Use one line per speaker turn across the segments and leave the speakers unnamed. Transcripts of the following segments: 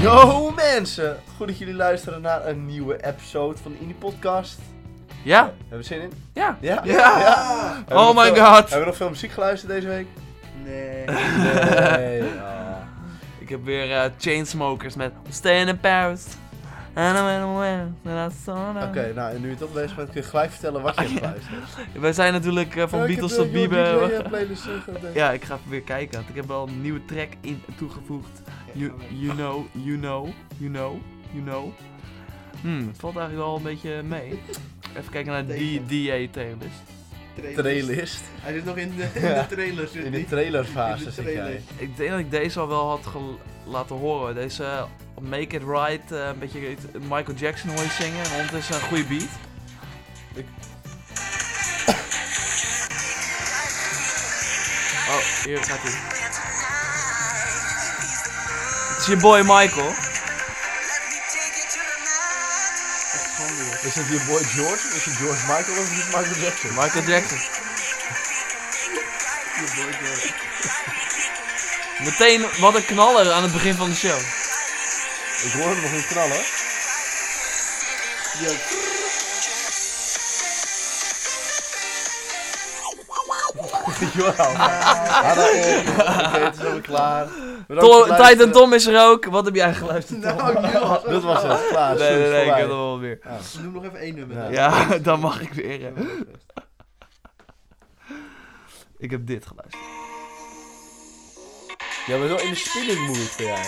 Yo mensen, goed dat jullie luisteren naar een nieuwe episode van de Indie Podcast.
Ja?
Hebben we zin in?
Ja.
Ja?
Ja.
Hebben
Oh
we nog
my
veel-
god.
Hebben we nog veel muziek geluisterd deze week?
Nee.
Nee. ja.
Ik heb weer eh, Chainsmokers met I'm Staying in Paris. And I went away and I saw
Oké,
them.
nou en nu je toch bezig bent kun je gelijk vertellen wat je hebt geluisterd.
We zijn natuurlijk eh, van
Ja, ik
Beatles
heb, eh,
tot
Jordi
Bieber.
Clay, eh, playlist, eh, gehad, eh.
Ja, ik ga even weer kijken. want Ik heb wel een nieuwe track in toegevoegd. You, you know, you know, you know, you know. Hmm, het valt eigenlijk wel een beetje mee. Even kijken naar die
Tegen.
DA-tailers.
Trailist.
Hij zit nog in de, in
Ja.
de trailer.
In
Zit
de
hij. In
trailerfase
de
zit
trailer.
jij.
Ik denk dat ik deze al wel had gel- laten horen. Deze eh, Make It Right, eh, een beetje het- het Michael Jackson hoor je zingen. En ondertussen een goede beat. Ik- Oh, hier gaat hij. Het is je boy Michael.
Is het je boy George? Is het George Michael of is het Michael Jackson?
Michael Jackson. Meteen wat een knaller aan het begin van de show.
Ik hoor hem nog niet knallen.
Ja.
Johan. Hallo. Oké, het is alweer klaar. Bedankt voor
Tom,
het
Tijd en
luisteren.
Tom is er ook. Wat heb jij geluisterd? Tom?
Nou, joh.
Dat was het. Klaar.
Nee, nee, nee, ik
Voorbij.
heb er wel weer.
Noem nog even één nummer.
Ja.
dan.
Ja, dan mag ik weer. hè. Ik heb dit geluisterd.
Jij bent wel in de spinning mood voor jij.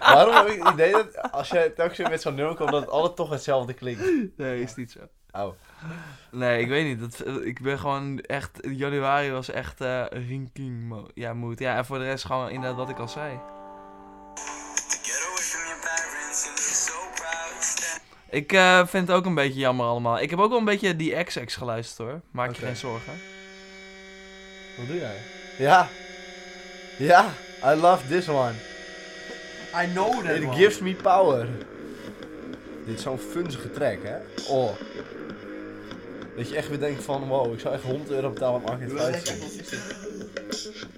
Waarom heb ik het idee dat als jij telkens weer met zo'n nummer komt, dat het altijd toch hetzelfde klinkt?
Nee, is niet zo.
Oh.
Nee, ik weet niet. Dat, ik ben gewoon echt. Januari was echt eh rinking mo- ja, mood. Ja, en voor de rest gewoon inderdaad wat ik al zei. Ik eh, vind het ook een beetje jammer allemaal. Ik heb ook wel een beetje die XX geluisterd hoor. Maak je
Oké.
geen zorgen.
Wat doe jij? Ja. Ja. I love this one.
I know that
It
one.
gives me power. Dit is zo'n funzige track, hè? Oh. Dat je echt weer denkt van, wow, ik zou echt 100 euro betalen om Arcade
Doe
Fire
wel
te
lekker,
zien.
want ik zit-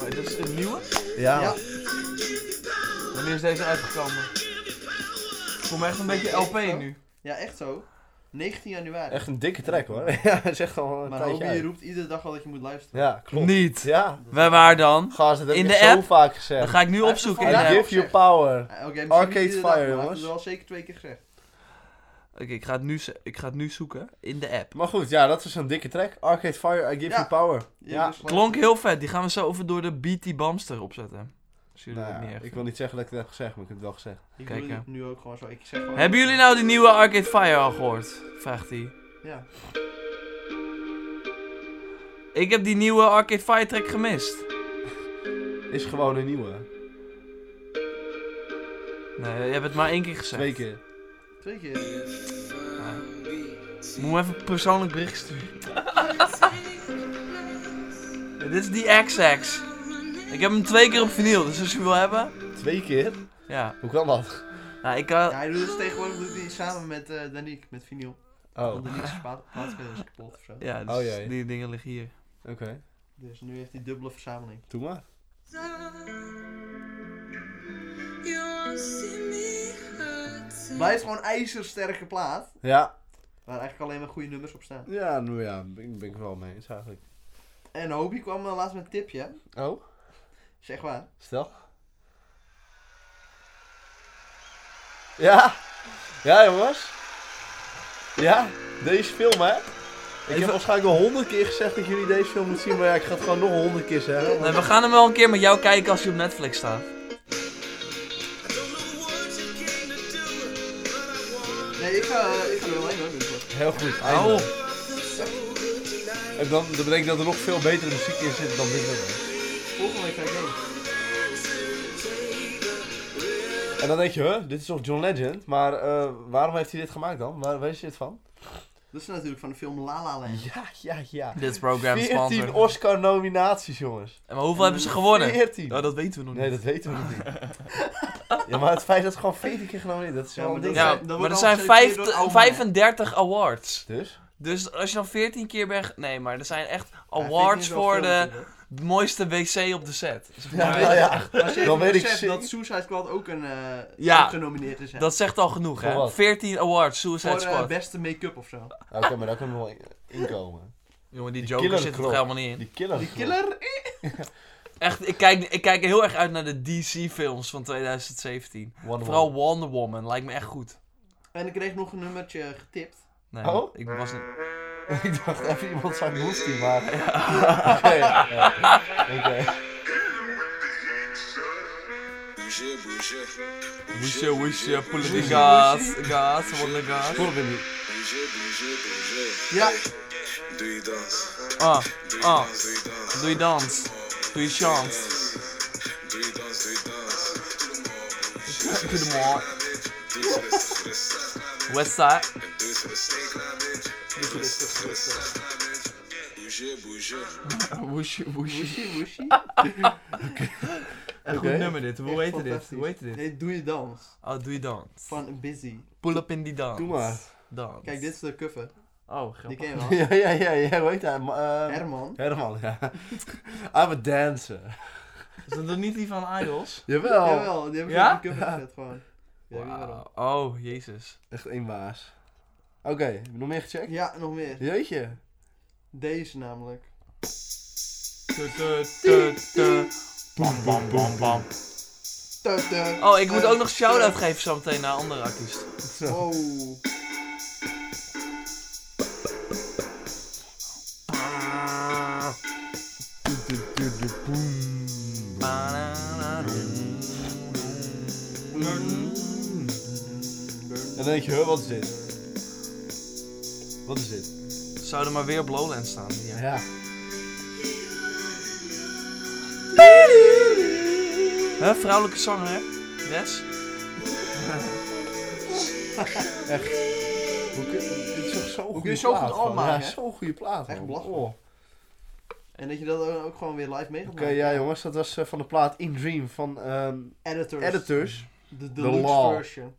Maar dit is een nieuwe?
Ja.
Ja.
Wanneer is deze uitgekomen? Ik voel me echt een beetje LP nu.
Ja, echt zo. 19 januari.
Echt een dikke track, hoor. ja, dat is echt al een
maar
tijdje
Robby
uit.
roept iedere dag al dat je moet luisteren.
Ja, klopt.
Niet.
Ja.
Waar, waar dan?
Gaas, dat heb
In
ik
de
echt zo
app?
vaak
Dat
gezegd.
ga ik nu
Hij-
opzoeken in
hij-
de
I
Ja,
app.
give you power.
Ah, Oké, misschien
Arcade
niet iedere dag,
Fire,
maar hij
jongens.
heeft het wel zeker twee keer gezegd.
Oké, ik, ga het nu ze- ik ga het nu zoeken in de app.
Maar goed, ja, dat is een dikke track. Arcade Fire, I give
Ja.
you power. Ja.
dus-
Klonk heel vet. Die gaan we zo over door de BT Bamster opzetten. Als jullie
Nou
dat
ja,
niet
ik
echt-
wil niet zeggen dat ik het heb gezegd, maar ik heb het wel gezegd.
Ik
Kijk,
doe
hè.
het nu ook gewoon zo. Ik zeg gewoon...
Hebben jullie nou die nieuwe Arcade Fire al gehoord? Vraagt hij.
Ja.
Ik heb die nieuwe Arcade Fire track gemist.
Is gewoon een nieuwe.
Nee, je hebt het maar één keer gezegd.
Twee keer.
Twee keer.
Moet me even een persoonlijk bericht sturen. Ja, Dit is die XX. Ik heb hem twee keer op vinyl, dus als je wil hebben.
Twee keer?
Ja.
Hoe kan dat?
Nou, ik kan.
Ja, hij doet dus tegenwoordig doet hij samen met eh Daniek, met Vinyl.
Oh,
Want Daniek's pla- plaatspeler is kapot of zo.
Ja, dus
Oh, jee.
die dingen liggen hier.
oké.
Dus nu heeft hij dubbele verzameling.
Doe maar.
Blijft gewoon ijzersterke plaat.
Ja.
Waar eigenlijk alleen maar goede nummers op staan.
Ja, nou ja, ben, ben ik wel mee eens eigenlijk.
En Hobie kwam eh, laatst met een tipje. hè.
Oh,
Zeg waar.
stel. Ja. Ja, jongens. Ja, deze film, hè. Ik heb
Even-
waarschijnlijk al honderd keer gezegd dat jullie deze film moeten zien, maar ja, ik ga het gewoon nog honderd keer zeggen.
Nee, we gaan hem wel een keer met jou kijken als hij op Netflix staat.
Nee, ik ga, eh, ik ga er alleen hoor. Dus. hoor.
Heel goed.
Hou
eindelijk.
op.
En dan, dan bedenk ik dat er nog veel betere muziek in zit dan dit nummer.
eh, Volgende week ga ik heen.
En dan denk je, huh, dit is toch John Legend? Maar eh, waarom heeft hij dit gemaakt dan? Waar weet je dit van?
Dat is natuurlijk van de film La La Land.
Ja, ja, ja.
Dit is program
14
sponsor.
Oscar-nominaties, jongens.
En maar hoeveel hebben ze gewonnen?
14.
Nou, dat weten we nog
Nee,
niet.
dat weten we nog niet. ja, maar het feit dat het gewoon 14 keer genomen is, dat is
Ja,
wel
maar
een ding.
dat
Ja,
zijn- dat
maar
wordt
er
al
zijn
geselecteerd door
vijft-
Alma.
35 awards.
Dus?
Dus als je dan 14 keer bent... ge- Nee, maar er zijn echt
Ja,
awards
vind ik
voor
niet wel
de
veel,
mooiste wc op de set. Zeg
Ja,
maar,
nou ja.
hoor. Als je
Dan
even
weet ik
beseft
zeker-
dat Suicide Squad ook een eh
Ja.
ook genomineerd is. Hè?
Dat zegt al genoeg,
Voor
hè?
wat?
14 awards, Suicide
voor eh,
Squad.
beste make-up of zo.
Oké, maar daar kunnen we wel in- inkomen.
Jongen, die
die
Joker
killer
zit er toch
krop.
helemaal niet in.
Die killer.
Die killer? eh,
Echt, ik kijk, ik kijk heel erg uit naar de DC-films van 2017.
Wonder
Vooral
Woman.
Wonder Woman lijkt me echt goed.
En ik kreeg nog een nummertje getipt.
Nee,
Oh?
ik was niet...
ik dacht even iemand zijn moestie maken. Oké. ja. Oké.
Bouger, bouger.
Woesje, woesje, pull
Woesje,
the
woesje.
gas, gas, what the gas.
Voel hem niet.
Bouger, bouger, bouger.
Ja.
Doe je dans.
Ah,
Doe je
ah,
dans, doe
doe je
je dans.
dans, doe je chant.
Doe je dans, doe je dans.
Goedemorgen.
Doe je voor de- voor de stad,
Westside.
doe je voor de steek, Doe je voor de stad, Bouger, bouger.
Woesje, woesje.
Woeshi, woeshi.
Een
Oké.
goed nummer dit, hoe
Echt
heet dit?
fantastisch.
Hoe heet dit?
Nee, doe je dans.
Oh, doe je dans.
Van Busy.
Pull up in die dans.
Doe maar.
Dans.
Kijk, dit is de cover.
Oh,
Die
grappig.
ken je wel.
Ja, ja, ja, ja, hoe heet hij?
Ehm,
Ma- eh,
Herman.
Herman, ja. I'm a dancer.
Is dat dan niet die van Idols?
Jawel.
Jawel, die heb ik
Ja?
op die cover gezet gewoon. Ja, weet je waarom.
Wauw. Oh, jezus.
Echt één baas. Oké, heb je nog meer gecheckt?
Ja, nog meer.
Jeetje.
Deze namelijk.
Tu, tu, tu, tu. Bam, bam, bam, bam.
Tuut, tuut,
Oh, ik moet
tuut,
ook nog shout-out
tuut.
geven zometeen naar andere artiest.
Zo.
Wow.
En dan denk je, huh, wat is dit? Wat is dit?
Zou er maar weer op Lowland staan hier.
Ja.
Hè, vrouwelijke zanger, hè? Des?
Echt. Hoe kun, dit is toch zo'n
kun
goede
je zo'n
plaat.
goed
gewoon.
afmaken,
ja,
hè?
zo'n goede plaat.
Echt
man.
belachelijk.
Oh.
En dat je dat dan ook gewoon weer live mee gaat
Oké, ja jongens, dat was eh, van de plaat In Dream van ehm,
Editors.
Editors.
De deluxe
law.
version.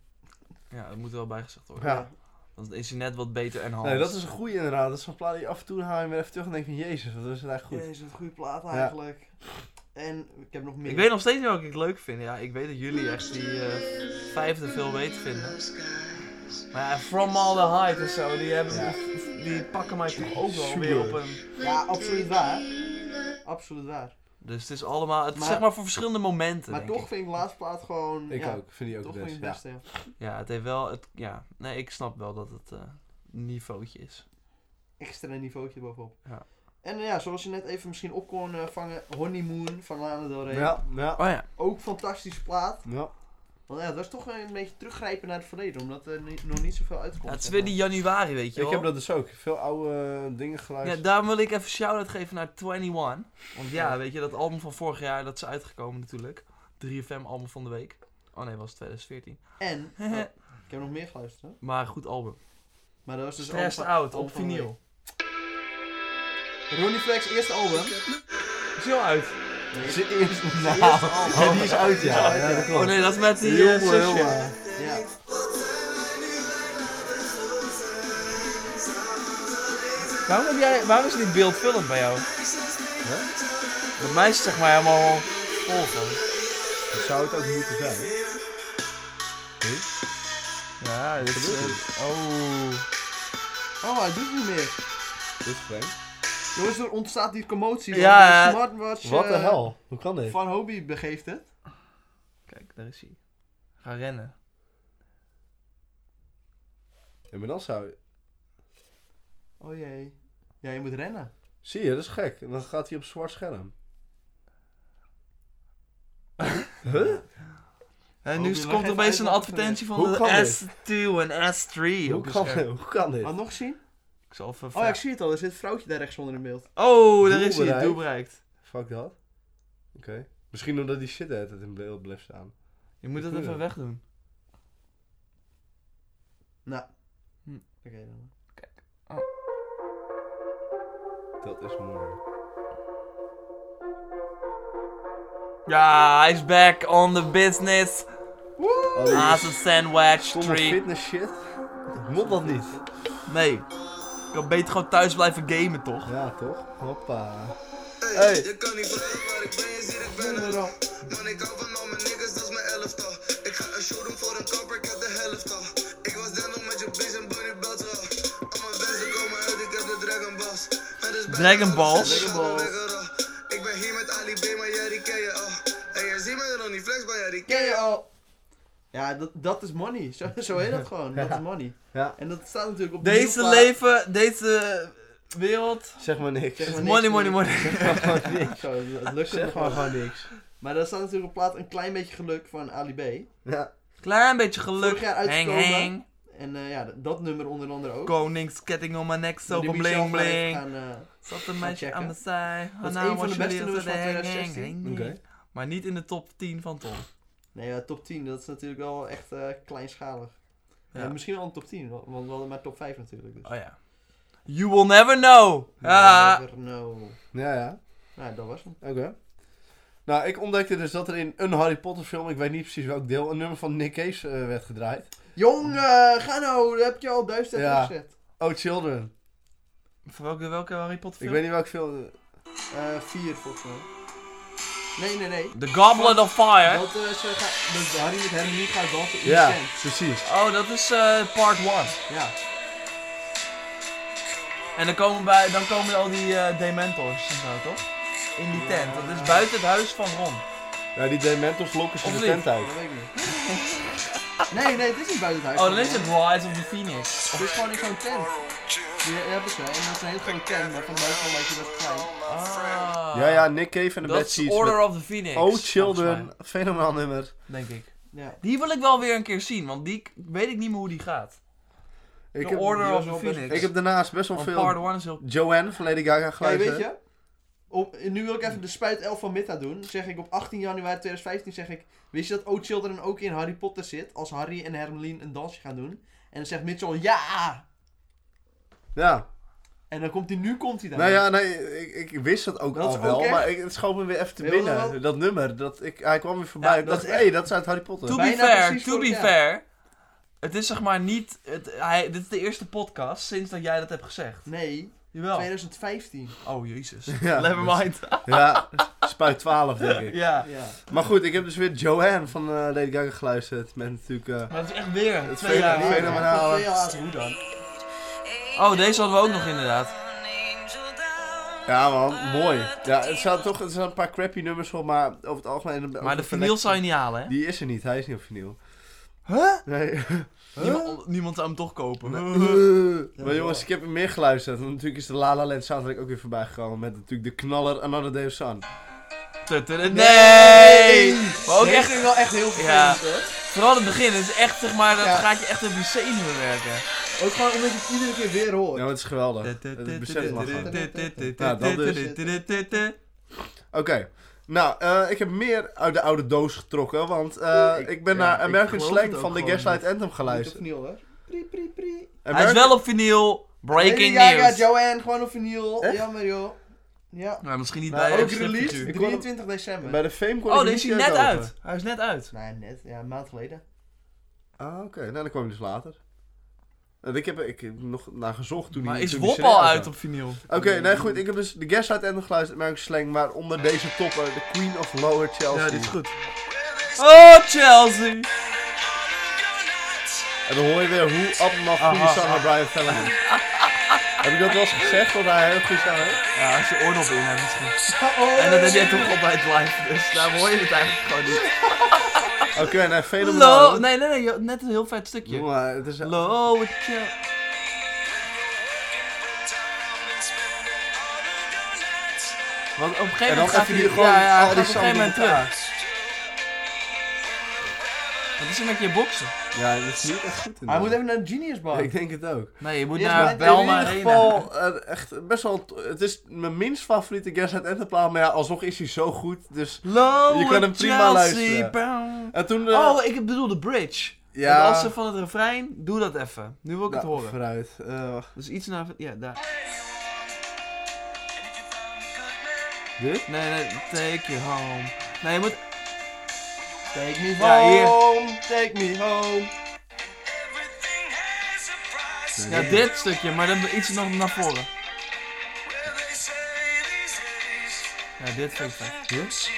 Ja, dat moet wel bijgezegd worden.
Ja.
Dan is hij net wat beter en handig.
Nee, dat is een goede inderdaad. Dat is een plaat die je af en toe haal je hem weer even terug en denk van Jezus, wat is het eigenlijk goed.
Jezus, wat een goede plaat eigenlijk. En ik heb nog meer.
Ik weet nog steeds niet wat ik het leuk vind. Ja, ik weet dat jullie echt die eh, vijfde veel beter vinden. Maar ja, From All The Hype en zo, die, hebben,
Ja.
die pakken mij toch ook wel
Sure.
weer op een...
Ja, absoluut waar. Absoluut waar.
Dus het is allemaal, het is
Maar-
zeg maar voor verschillende momenten,
Maar
denk
toch
ik.
vind ik de laatste plaat gewoon.
Ik
ja,
ook, vind die ook
Toch
het
vind ik
best.
het
Ja.
beste. Ja.
Ja, het heeft wel, het, ja, nee, ik snap wel dat het eh niveautje is.
Extra niveautje bovenop.
Ja.
En eh, ja, zoals je net even misschien op kon eh, vangen, Honeymoon van Lana Del Rey.
Ja, ja,
Oh ja,
Ook fantastische plaat.
ja.
Want ja, dat is toch een beetje teruggrijpen naar het verleden, omdat er ni- nog niet zoveel uitkomt.
Ja, het is
zeg
weer
maar.
die januari, weet
Ik
je wel.
heb dat dus ook. Veel oude eh, dingen
Ja,
geluisterd.
daarom wil ik even shout-out geven naar 21. Want ja, weet je, dat album van vorig jaar, dat is uitgekomen natuurlijk. 3FM album van de week. Oh nee, was 2014.
En, oh, ik heb nog meer geluisterd. hè.
Maar goed album.
Maar dat was dus
Stressed
allemaal-
Out op
allemaal van-
vinyl.
Ronnie Flex eerste album.
Is heel uit.
Ja, Zijn eerste naam.
eerste album.
Ja, die is uit, ja. ja, dat
Oh
klopt.
nee, dat is met die
Jongen,
jongen.
jongen.
Ja.
Waarom, heb jij, waarom is die beeldvullend bij jou? Bij mij is het zeg maar helemaal vol van.
Dat zou het ook moeten zijn.
Ja, dit is... eh, oh.
Oh, hij doet het niet meer.
Dit is vreemd.
Jongens, er ontstaat die commotie. want
Ja,
de
hè.
smartwatch.
Wat de
eh,
hel? Hoe kan dit?
Van Hobie begeeft het.
Kijk, daar is hij. Ga rennen.
Ja, maar dan zou...
Oh jee. Ja, je moet rennen.
Zie je, dat is gek. En dan gaat hij op zwart scherm. huh?
En
Oh,
nu
die lag
komt er
even
opeens
uit
een
wat
advertentie van
Hoe kan
de
dit?
S2 en S3.
Hoe
op de
kan,
scherm.
hoe kan dit?
Wat nog zien?
Ik zal even
Oh, ja, ik
vragen.
zie het al. Er zit een vrouwtje daar rechtsonder in beeld.
Oh, daar
Doel
is hij.
bereikt.
Doel bereikt.
Fuck dat. Oké. Misschien omdat die shit de hele tijd in beeld blijft staan.
Je moet dat
Doe
even
dat.
wegdoen.
Nou.
Hm.
Oké dan.
Dat is mooi. Oh,
Ja, hij is back on the business.
Oh,
Naast een sandwich
Zonder
tree.
fitness shit. Moet dat niet?
Nee. Ik kan beter gewoon thuis blijven gamen, toch?
Ja, toch? Hoppa.
Hey,
Hey.
je kan niet blijven waar ik ben, je ziet ik ben er al. Man, ik hou van al mijn niggas, dat is mijn elftal. Ik ga een show doen voor een kapper, ik heb de helft al. Ik was daar nog met je bitch en Bonnie Belt wel. Al mijn wensen komen uit, ik heb de Dragon Balls. Het is bijna
Dragon Balls?
alles, ik ga
Dragon
mijn weg er al. Ik ben hier met Ali B, maar jij die ken je al. Hey, jij ziet mij nog niet flex, maar jij die ken
Ken
je
je
al.
al? Ja, dat, dat is money. Zo, zo heet dat gewoon. Dat
Ja.
is money.
Ja.
En dat staat natuurlijk op de
Deze
nieuwplaat.
leven, deze wereld.
Zeg maar niks.
Zeg maar niks
Money, money,
meer.
money.
Zeg maar gewoon niks.
Zo, dat lukt
Zeg
het
maar
gewoon.
gewoon niks.
Maar daar staat natuurlijk op plaat een klein beetje geluk van Ali B.
Ja.
Klein beetje geluk.
Vorig jaar
Hang,
uitgekomen.
hang.
En eh, ja, dat, dat nummer onder andere ook.
Koningsketting om mijn nek, zo
Die
van
moet je zelf
bling
maar even
bling.
gaan, eh,
Zat een meisje
checken.
aan de zij.
Dat is
Hannah,
een van de
was
beste
jullie
nummers van
altijd hang,
2016.
hang,
Oké.
hang. Maar niet in de top 10 van Tom.
nee, ja, top 10, dat is natuurlijk wel echt eh, kleinschalig.
Ja.
Ja, misschien wel een top 10, wa- want we hadden maar top 5 natuurlijk. Dus.
Oh ja. You will never know. Ah.
Never know.
Ja, ja.
Nou, dat was hem.
Oké. Nou, ik ontdekte dus dat er in een Harry Potter film, ik weet niet precies welk deel, een nummer van Nick Cage eh, werd gedraaid.
Jongen, ga nou, dat heb je al duizend
Ja.
gezet.
Oh, Children.
Voor welke, welke Harry Potter
Ik
film?
weet niet welk film.
Eh 4 volgens mij. Nee, nee, nee.
The Goblet of Fire.
Dat, eh, ze gaat, dat Harry met hem niet gaat dansen in
ja,
de tent.
precies.
Oh, dat is eh, part 1.
Ja.
En dan komen, bij, dan komen al die eh, dementors en zo, toch? In die tent. Dat is buiten het huis van Ron.
Ja, die Dementors lokken ze
Of
de
niet?
tent uit.
Dat weet ik niet. Nee, nee, het is niet buiten het huis.
Oh, dan is het Rise of the Phoenix.
Het is gewoon in zo'n tent. Die hebben ze. En dat is een hele grote tent, maar van buiten een beetje best klein.
Ah.
Ja, ja, Nick Cave en de
Dat
Bad
is
Seeds.
Order
met
of the Phoenix.
Oh,
volgens
Children. Fenomenaal nummer.
mij, Denk ik.
Ja.
Die wil ik wel weer een keer zien, want die k- weet ik niet meer hoe die gaat.
Ik
The
heb,
Order
die
of
was
the
wel best-
Phoenix.
ik heb daarnaast best wel
Want
veel
part 1 is heel...
Joanne van Lady Gaga
Kijk,
geluisterd.
weet je? Op, nu wil ik even de spuitelf van Mitta doen. Zeg ik op 18 januari 2015 zeg ik... Wist je dat O Children ook in Harry Potter zit? Als Harry en Hermeline een dansje gaan doen. En dan zegt Mitchell ja!
Ja.
En dan komt hij, nu komt hij daar.
Nou ja, nee, ik, ik wist dat ook
Dat
al
is
wel,
ook echt-
maar ik, het schoot me weer even te
Weet je wat
binnen.
dat wel-
Dat nummer, dat ik, hij kwam weer voorbij.
Ja,
ik
dat
dacht,
is
hé,
echt-
hey, dat is uit Harry Potter.
To be
Bijna
fair,
precies
to
voor-
be
ja.
fair. Het is zeg maar niet... Het, hij, dit is de eerste podcast sinds dat jij dat hebt gezegd.
Nee,
Jawel.
2015.
Oh, jezus.
Ja, dus-
Never mind.
Ja, spuit 12 denk ik.
ja.
Ja.
Maar goed, ik heb dus weer Joanne van eh Lady Gaga geluisterd. Met natuurlijk... eh,
Maar het is echt weer.
Het
Twee jaar.
fenomenaal.
weer.
Fenomenale.
Twee jaar later, hoe dan?
Oh, deze hadden we ook nog inderdaad.
ja man, mooi. Ja, het zijn toch het zijn een paar crappy nummers op, maar over het algemeen... ook
Maar de
een
vinyl zou je niet halen, hè?
Die is er niet, hij is niet op vinyl.
Huh?
Nee.
Niemand, niemand zou hem toch kopen. Uh.
maar jongens, ik heb er meer geluisterd. Want natuurlijk is de La La Land soundtrack ook weer voorbij gekomen. Met natuurlijk de knaller Another Day of Sun.
Tutudu- Nee! Maar ook
Nee,
echt,
ging wel echt heel veel
Ja.
mensen.
vooral het begin, het is echt zeg maar, dat
Ja.
gaat je echt op je zenuwen werken.
Ook gewoon omdat je het iedere keer weer
Ja,
hoort.
maar het is geweldig. Het besef mag gewoon. Ja, dat Oké. Nou, eh, ik heb meer uit de oude doos getrokken, want eh,
Ik-
ik ben
ja,
naar
ik
American
geloof het
Slang
ook
van de
gewoon
Gaslight Anthem
Niet
geluisterd.
opnieuw hoor. Pri, pri, pri.
Hij is
American-
wel op vinyl, breaking
Lady Gaga,
news.
Joanne, gewoon op vinyl.
Echt?
Jammer joh. Ja.
Maar misschien niet
Nou,
bij
ook
Extra
released?
Future.
Ik kon hem-
23 december.
Bij de Fame kon
Oh,
ik
deze
hem
is
niet
hij net
kopen.
uit. Hij is net uit.
Nou, net. Ja, een maand geleden.
Ah, oké. Nou, dan kwam hij dus later. Want Ik heb, ik heb nog naar gezocht toen
Maar
hij...
is
toen die
Wop
serie
al
uitkwam.
uit op vinyl?
Oké, nee goed. Ik heb dus de Gaslight Anthem geluisterd, American Slang, waaronder deze topper, de Queen of Lower Chelsea.
Ja, dit is goed. Oh, Chelsea!
En dan hoor je weer hoe abnormaal goede
Aha.
zanger Brian Fallon is. Heb ik dat wel eens gezegd, dat hij heel goed zanger is?
Ja, als je oordop in hebt misschien.
Oh,
En dat heb jij toch al bij het live, dus daar hoor je het eigenlijk gewoon niet. nou-
Oké, nee, fenomenaal.
Lo, nee, nee, nee, joh, net een heel vet stukje.
Jongen, het is...
Lo, het je- Want op een
En
gegeven
dan
moment gaat
even
hij
hier gewoon
ja, ja,
al
hij
die
gaat op een
zanden
gegeven moment
door elkaar.
terug. Wat is er met je boksen?
Ja, dat is niet echt goed.
Hij
inderdaad.
moet even naar de Genius Bar.
Ik denk het ook.
Nee, je moet
Eerst
naar
maar-
Belma
in ieder
Arena.
geval eh, echt best wel. Het is mijn minst favoriete Gaslight Enterprise, maar ja, alsnog is hij zo goed. Dus.
Lo,
Je kan hem
het
prima
Chelsea,
luisteren.
bam.
En toen. eh,
Oh, ik bedoel de bridge.
ja.
Het laatste van het refrein, doe dat even. Nu wil ik het
nou,
horen.
Vooruit. Eh, wacht.
Dus iets naar... Ja, daar.
Dit?
Nee, nee, take you home. Nee, je moet...
Take me
Ja, hier.
home, take me home.
Everything has a price.
stuk.
Ja, dit stukje, maar dan iets nog naar voren. Ja, dit vind ik fijn. Dat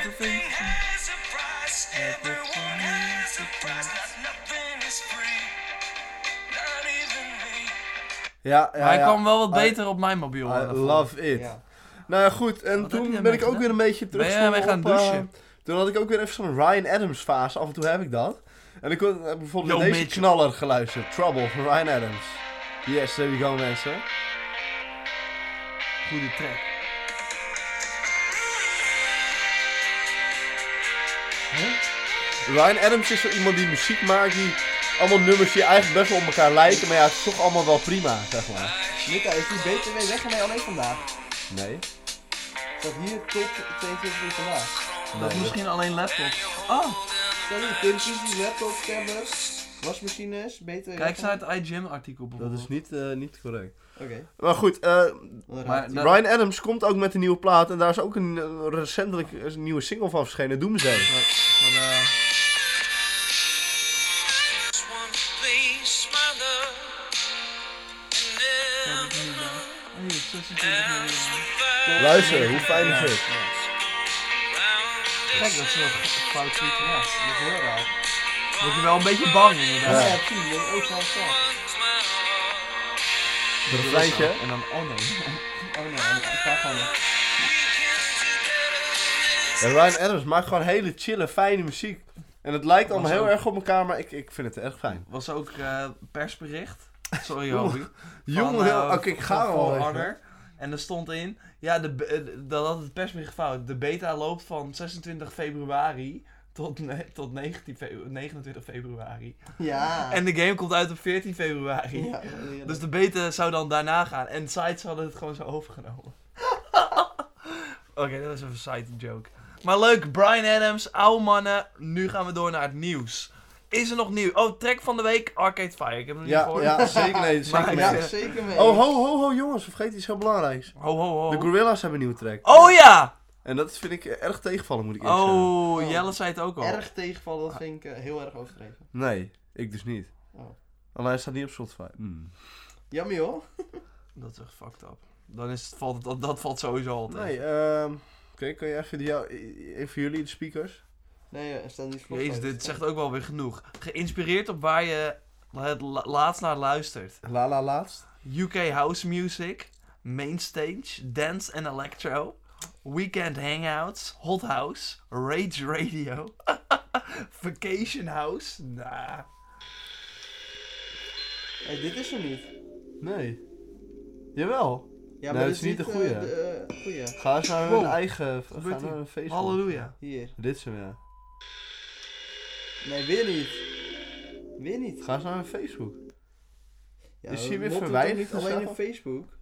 vind ik fijn.
Ja, ja,
Maar hij
ja.
kwam wel wat
I-
beter op mijn mobiel. eh,
I
daarvoor.
love it.
Ja.
Nou ja, goed. En
Wat heb
toen
je
ben
daarmee
ik ook
gedaan?
weer een beetje
Ben
teruggekomen
jij gaan
op, eh,
douchen?
toen had ik ook weer even zo'n Ryan Adams fase. Af en toe heb ik dat. En ik kon heb bijvoorbeeld
Yo,
naar deze
Mitchell.
knaller geluisterd. Trouble van Ryan Adams. Yes, there we go mensen.
Goede track.
Ryan Adams is zo iemand die muziek maakt die allemaal nummers die eigenlijk best wel op elkaar lijken. Maar ja, het is toch allemaal wel prima, zeg maar.
Luca, is die BTW weg en mij alleen vandaag?
Nee.
Dat hier tot 22 uur vandaag.
Dat is
nee.
misschien alleen laptop. Oh,
Sorry, kunsties, laptop, tablets, wasmachines, BTW
kijk,
weg
ze
en-
uit iGym artikel
Dat
bijvoorbeeld.
is niet, eh, niet correct.
Oké.
Maar goed, eh,
dan
Maar-
raad ik.
Dat-
Ryan Adams komt ook met een nieuwe plaat. En daar is ook een eh, recentelijk een nieuwe single van verschenen. Doomsday.
Maar, eh, ja, dat is niet waar. Oh, hier, 26 miljoen.
Luister, hoe fijn is het?
Kijk, dat is wel fout. tweet, Ja.
Dat is heel raar.
Word je wel een beetje bang
Ja,
inderdaad.
Ja.
ja precies. Ik ben ook zo staan.
Dat refreintje.
En dan, oh nee.
Oh nee, ik ga gewoon weg.
Ja, Ryan Adams maakt gewoon hele chille, fijne muziek. En het lijkt allemaal
Was
heel
ook-
erg op elkaar, maar ik, ik vind het erg fijn.
Was ook eh, persbericht. Sorry, Hobie.
Jongen,
Van,
heel...
eh,
Oké, ik ga
van
er al
Paul
even.
Harder. En er stond in, ja, de, be- eh, dat had het persbericht fout. De beta loopt van 26 februari tot, ne- tot 19 febru- 29 februari.
Ja.
En de game komt uit op 14 februari.
Ja, heerlijk.
Dus de beta zou dan daarna gaan. En sites hadden het gewoon zo overgenomen. Oké, dat is even een side joke. Maar leuk, Brian Adams, oude mannen. Nu gaan we door naar het nieuws. Is er nog nieuw? Oh, track van de week, Arcade Fire. Ik heb hem niet
Ja,
gehoord.
ja, zeker nee, zeker
Maar-
nee.
Ja, zeker mee.
Oh, ho, ho, ho, jongens, vergeet iets heel belangrijks.
Ho, ho, ho.
De Gorillas hebben een nieuwe track.
Oh ja!
En dat vind ik eh, erg tegenvallen, moet ik eerlijk zeggen.
Oh,
Oh.
Jelle zei het ook al.
Erg tegenvallen, dat vind ik eh, heel erg overdreven.
Nee, ik dus niet.
Oh.
Alleen hij staat niet op Spotify. Hmm.
Jammer joh.
Dat is echt fucked up. Dan is het, valt het, dat, dat valt sowieso altijd.
Nee, ehm... Oké, kun je even, die, jou- even jullie, de speakers?
Nee, eh, er staat niet voor.
Jezus, dit zegt ook wel weer genoeg. Geïnspireerd op waar je het la- laatst naar luistert.
La la laatst.
UK house music, mainstage, dance and electro, weekend hangouts, hot house, rage radio, vacation house. Nah.
Hey, dit is er niet.
Nee. Jawel.
Ja,
Nee,
dit
het is niet de
eh,
goeie.
de, eh, goeie.
Ga eens naar hun
Wow.
eigen... Ga
gebeurt
naar
hier?
hun Facebook.
Halleluja.
Hier.
Dit is hem, ja.
Nee, weer niet. Weer niet.
Ga eens naar hun Facebook.
Ja,
Is hij
we
weer
motten toch
verwijderd
niet
of
Alleen
zo?
op Facebook.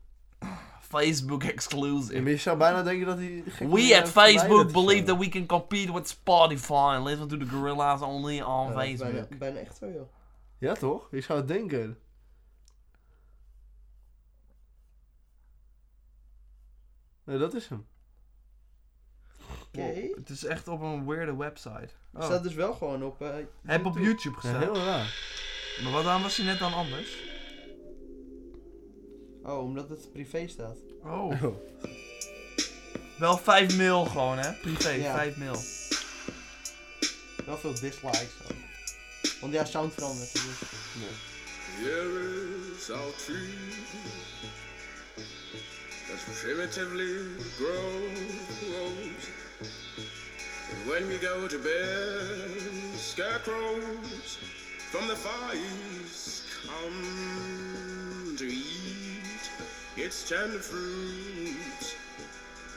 Facebook
Ja,
exclusive.
maar je zou bijna denken dat hij... gek
We
is,
at
eh, verwijderd
Facebook
is,
believe
eh.
that we can compete with Spotify and listen to the gorillas only on
Ja, dat is
Facebook.
Bijna, bijna echt zo
Oh.
joh.
Ja toch? Je zou het denken. Nee, dat is hem.
Oké.
Wow, Het is echt op een weirde website.
Het staat dus wel gewoon op. eh,
Heb op YouTube
Ja,
gestaan.
heel raar.
Maar wat dan was hij net dan anders?
Oh, omdat het privé staat.
Oh. Wel 5 mil gewoon, hè? Privé,
Ja.
5 mil.
Wel veel dislikes. ook. Want ja, sound verandert. dus-
Here is our tree that primitively grows. And when we go to bed, scarecrows from the fires come to eat its tender fruits.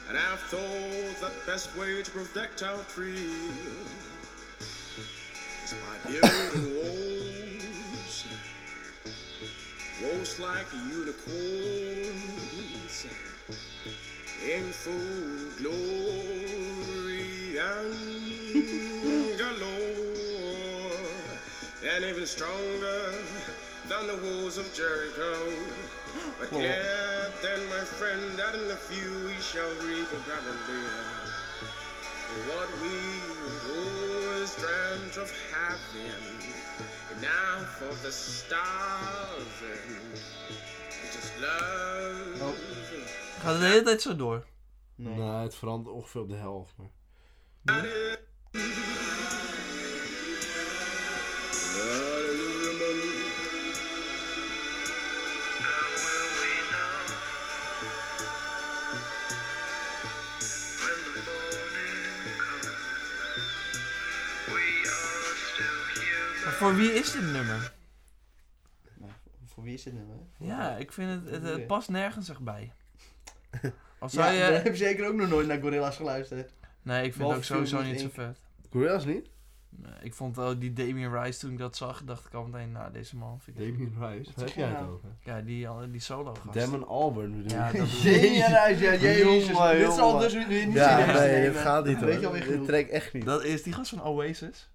And I've thought the best way to protect our tree is by building walls Roast like unicorns in full glory and galore, and even stronger than the walls of Jericho. But yeah, then my friend, that in a few we shall reap a Galilee. What we always dreamt of having
Now for the stars and just love.
Oh.
Gaat het de hele tijd zo door?
Nee.
Nou, het verandert ongeveer op de helft. Maar...
Maar voor wie is dit nummer?
Nou, voor wie is dit nummer?
Ja, ik vind het, het, het past nergens echt bij. Als zou
ja,
je...
Ik heb zeker ook nog nooit naar Gorilla's geluisterd.
Nee, ik vind het
Behalve
ook sowieso
Feel Good
niet zo
Inc.
vet.
Gorilla's niet?
Nee, ik vond wel die Damien Rice toen ik dat zag, dacht ik al meteen, nou deze man vind ik...
Damien Rice,
Wat
heb
zeg je
jij het
nou?
over?
Ja, die, die solo gast.
Damon Albarn bedoel
Ja,
ik.
dat
Jezus, ja, ja, jezus.
Jongen,
dit zal
jongen.
dus weer niet
Ja,
serieus
nee,
nemen.
dat gaat niet
Weet je
hoor.
alweer
Dit
genoeg.
trekt echt niet.
Dat is die gast van Oasis.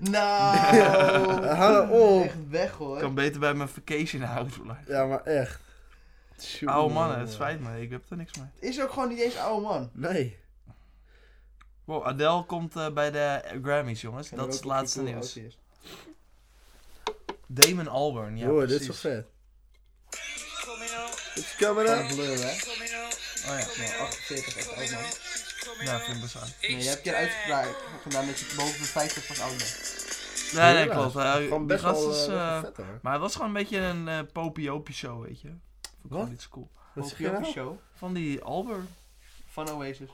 Nou,
Eh, Hou op.
Echt weg hoor.
Oh.
kan beter bij mijn vacation houden. blijven.
Ja, maar echt.
Oude mannen,
Tjonge.
het spijt me, ik heb er niks mee.
Is ook gewoon niet eens oude man.
Nee.
Wow, Adele komt eh, bij de Grammys, jongens.
Kan
dat
er
is
ook
het laatste
een cool
nieuws.
oud is.
Damon Albarn, ja.
Joh, dit is
precies.
toch vet. It's coming up.
Blur hè?
Oh ja,
Nou, 48 echt oud man.
ja, vind ik bizar.
Nee, je hebt je uitspraak gedaan dat je boven de 50 was oud bent.
Nee, nee,
Ja,
klopt. Hij-
Gewoon
die
best
gast
wel, eh,
is...
best wel
eh,
vet hoor.
maar het was gewoon een beetje een eh popiopie show, weet je. Vond ik gewoon
Wat?
niet zo cool.
Wat
Op
zeg je
je
nou?
show
Van die Albarn.
van Oasis.